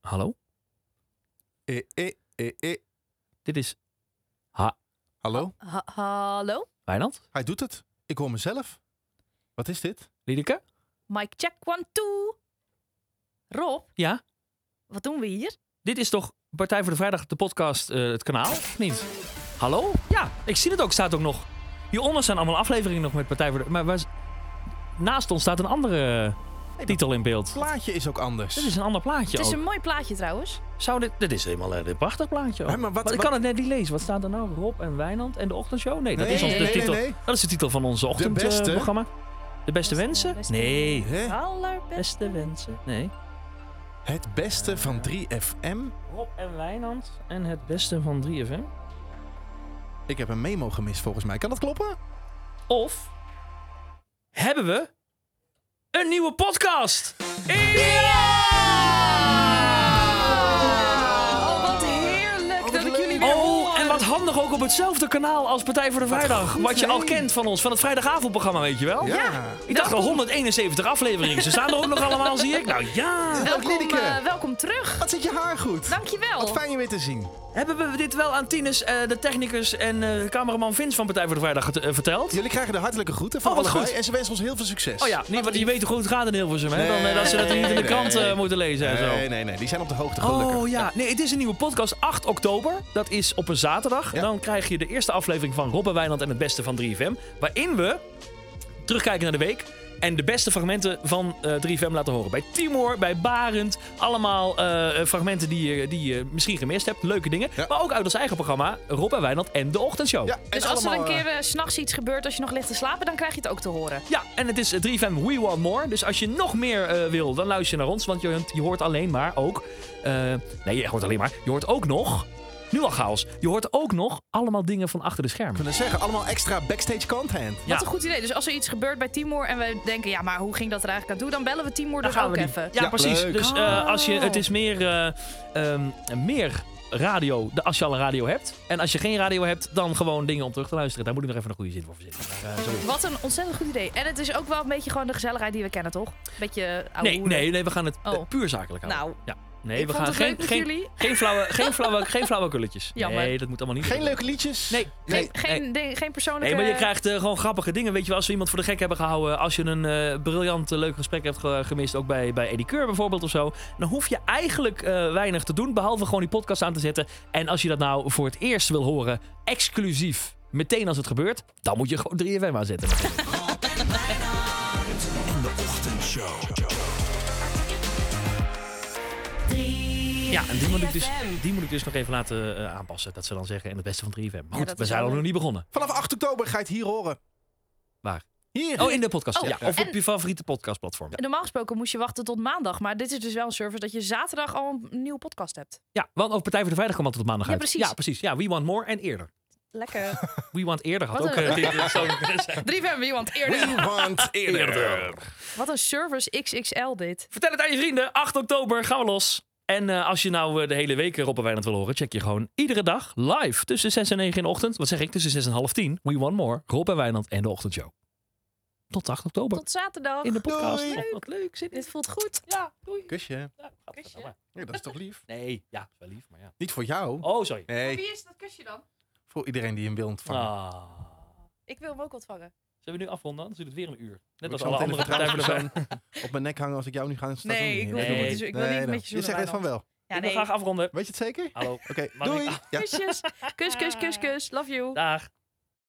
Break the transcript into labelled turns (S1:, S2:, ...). S1: Hallo?
S2: Eh, eh, eh, eh.
S1: Dit is
S2: Hallo?
S3: Ha- hallo?
S1: Wijnand,
S2: Hij doet het. Ik hoor mezelf. Wat is dit?
S1: Liedeke.
S3: Mike check one two. Rob,
S1: Ja,
S3: wat doen we hier?
S1: dit is toch Partij voor de Vrijdag, de podcast, eh, het kanaal? Of niet? Hallo? Ja, ik zie het ook, staat ook nog. Hieronder zijn allemaal afleveringen nog met Partij voor de... Maar waar is- naast ons staat een andere eh, titel in beeld.
S2: Plaatje is ook anders.
S1: Dit is een ander plaatje
S3: Het is
S1: ook.
S3: een mooi plaatje trouwens.
S1: Zou dit... Dit is helemaal eh, een prachtig plaatje ook.
S2: Hè, maar wat-
S1: ik
S2: wat-
S1: kan het net niet lezen. Wat staat er nou? Rob en Wijnand en de ochtendshow? Nee, dat
S2: Nee,
S1: is ons
S3: nee,
S1: de
S3: nee,
S1: titel.
S2: nee, nee.
S1: Dat is de titel van onze
S2: beste.
S1: ochtendprogramma. de beste wensen?
S3: Beste-
S1: Nee.
S2: Hè?
S3: Allerbest.
S1: Beste wensen? Nee.
S2: Het beste van 3FM.
S1: Rob en Wijnand en het beste van 3FM.
S2: Ik heb een memo gemist volgens mij. Kan dat kloppen?
S1: Of hebben we een nieuwe podcast?
S3: Oh, wat heerlijk dat ik jullie
S1: Oh,
S3: weer hoor.
S1: en wat handig ook op hetzelfde kanaal als Partij voor de Vrijdag. Wat je al kent van ons, van het vrijdagavondprogramma, weet je wel?
S2: Ja.
S1: Ik dacht al 171 afleveringen. Ze staan er ook nog allemaal, zie ik. Nou ja.
S3: Welkom,
S2: Liedeke.
S3: eh, welkom terug.
S2: Wat zit je haar goed?
S3: Dankjewel.
S2: Wat fijn je weer te zien.
S1: Hebben we dit wel aan Tinus, eh, de technicus en eh, cameraman Vince van Partij voor de Vrijdag get- eh, verteld?
S2: Jullie krijgen de hartelijke groeten van
S1: Oh, wat
S2: allebei.
S1: goed.
S2: En ze wensen ons heel veel succes.
S1: Oh ja, nee, want je weet hoe goed het gaat in Hilversum, hè? Dan, eh, dat ze dat
S2: Nee,
S1: niet in de
S2: nee,
S1: krant eh,
S2: nee.
S1: moeten lezen en zo.
S2: Nee, nee, nee. Die zijn op de hoogte gelukkig.
S1: Oh ja, nee, het is een nieuwe podcast. 8 oktober, dat is op een zaterdag.
S2: Ja.
S1: Dan krijg je de eerste aflevering van Rob en Wijnand en het beste van 3FM. Waarin we terugkijken naar de week en de beste fragmenten van eh, 3FM laten horen. Bij Timor, bij Barend. Allemaal eh, fragmenten die je, die je misschien gemist hebt. Leuke dingen.
S2: Ja.
S1: Maar ook uit ons eigen programma Rob en Wijnand en de ochtendshow.
S2: Ja, en
S3: Dus als er
S2: allemaal,
S3: een
S2: eh,
S3: keer eh, 's s'nachts iets gebeurt als je nog ligt te slapen, dan krijg je het ook te horen.
S1: Ja, en het is eh, 3FM We Want More. Dus als je nog meer eh, wil, dan luister je naar ons. Want je, je hoort alleen maar ook... eh, nee, je hoort alleen maar. Je hoort ook nog... Nu al chaos. Je hoort ook nog allemaal dingen van achter de
S2: Ik
S1: schermen.
S2: wil zeggen, allemaal extra backstage content.
S1: Ja.
S3: Wat een goed idee. Dus als er iets gebeurt bij Timor en we denken, ja, maar hoe ging dat er eigenlijk aan toe? Dan bellen we Timor
S1: Daar
S3: dus
S1: gaan
S3: ook
S1: we die-
S3: even. Oh.
S1: Ja,
S2: Ja,
S1: precies.
S2: leuk.
S1: Dus eh, als je, het is meer, eh, ehm, meer radio de- als je al een radio hebt. En als je geen radio hebt, dan gewoon dingen om terug te luisteren. Daar moet ik nog even een goede zin voor verzinnen. Maar, eh, zo is het.
S3: Wat een ontzettend goed idee. En het is ook wel een beetje gewoon de gezelligheid die we kennen, toch? Beetje oude
S1: Nee,
S3: hoeren.
S1: nee, nee, we gaan het eh,
S3: Oh.
S1: puur zakelijk houden. Ja.
S3: Nou,
S1: Nee,
S3: ik
S1: we
S3: vond
S1: gaan
S3: het
S1: geen,
S3: leuk met
S1: geen,
S3: jullie.
S1: geen, flauwe, geen, flauwe, geen flauwe kulletjes.
S3: Jammer.
S1: Nee, dat moet allemaal niet.
S2: Geen leuke liedjes?
S1: Nee.
S2: nee.
S3: Geen, geen, ding- geen
S1: Nee,
S3: persoonlijke...
S1: maar je krijgt eh, gewoon grappige dingen. Weet je wel, als we iemand voor de gek hebben gehouden. Als je een eh, briljant eh, leuk gesprek hebt ge- gemist. Ook bij, bij Eddie Keur bijvoorbeeld of zo. Dan hoef je eigenlijk eh, weinig te doen. Behalve gewoon die podcast aan te zetten. En als je dat nou voor het eerst wil horen. Exclusief. Meteen als het gebeurt. Dan moet je gewoon 3FM aanzetten. Ja, en die moet ik dus, die moet ik dus nog even laten eh, aanpassen. Dat ze dan zeggen. En het beste van 3FM. Maar goed,
S3: dat
S1: we
S3: is
S1: zijn al
S3: wel
S1: nog niet begonnen.
S2: Vanaf 8 oktober ga je het hier horen.
S1: Waar?
S2: Hier.
S1: Oh, in de podcast.
S3: Oh,
S1: ja.
S2: ja.
S1: Of op
S3: En-
S1: je favoriete podcastplatform.
S3: Normaal gesproken moest je wachten tot maandag. Maar dit is dus wel een service dat je zaterdag al een nieuwe podcast hebt.
S1: Ja, want ook Partij voor de Vrijdag kwam altijd op maandag
S3: Ja,
S1: uit.
S3: precies.
S1: Ja, precies. Ja, We Want More en eerder.
S3: Lekker.
S1: We Want Eerder had
S3: Wat
S1: ook
S3: een-
S1: eh, dit- dit zou ik willen zeggen.
S3: Drie van iemand eerder.
S2: We want eerder.
S3: Wat een service XXL dit.
S1: Vertel het aan je vrienden. 8 oktober gaan we los. En eh, als je nou eh, de hele week Rob en Wijnand wil horen, check je gewoon iedere dag live tussen 6 en 9 in de ochtend. Wat zeg ik? Tussen 6 en half 10. We Want More, Rob en Wijnand en de ochtendshow. Tot 8 oktober
S3: Tot zaterdag.
S1: in de podcast.
S2: Doei.
S1: Oh, wat leuk. Zin in.
S3: Dit voelt goed.
S1: Ja, doei.
S2: Kusje.
S1: Ja, gadverdamme.
S2: Ja, dat is toch lief?
S1: Nee, ja, wel lief, maar ja.
S2: Niet voor jou.
S1: Oh, sorry.
S2: Nee.
S3: is dat kusje dan?
S2: Voor iedereen die hem wil ontvangen.
S3: Nou.
S1: Ah.
S3: Ik wil hem ook ontvangen.
S1: Zullen we nu afronden? Dan duurt het weer een uur. Net
S2: Ik
S1: als
S2: zal
S1: alle
S2: meteen
S1: andere Partij
S2: een
S1: voor de Vrijdag.
S2: vertrouwenspersoon op mijn nek hangen als ik jou nu ga staan
S3: Nee,
S2: doen.
S3: ik wil
S1: niet
S2: Nee.
S1: met
S3: je- ik wil niet
S2: Nee,
S3: met
S2: nee.
S3: je zoenen,
S2: zegt net van wel.
S3: Ja,
S1: Ik wil
S3: nee.
S1: graag afronden.
S2: Weet je het zeker?
S1: Hallo.
S2: Oké,
S1: Mag ik-
S2: doei. Ja.
S3: Kusjes. Kus, kus, kus, kus. Love you.
S1: Dag.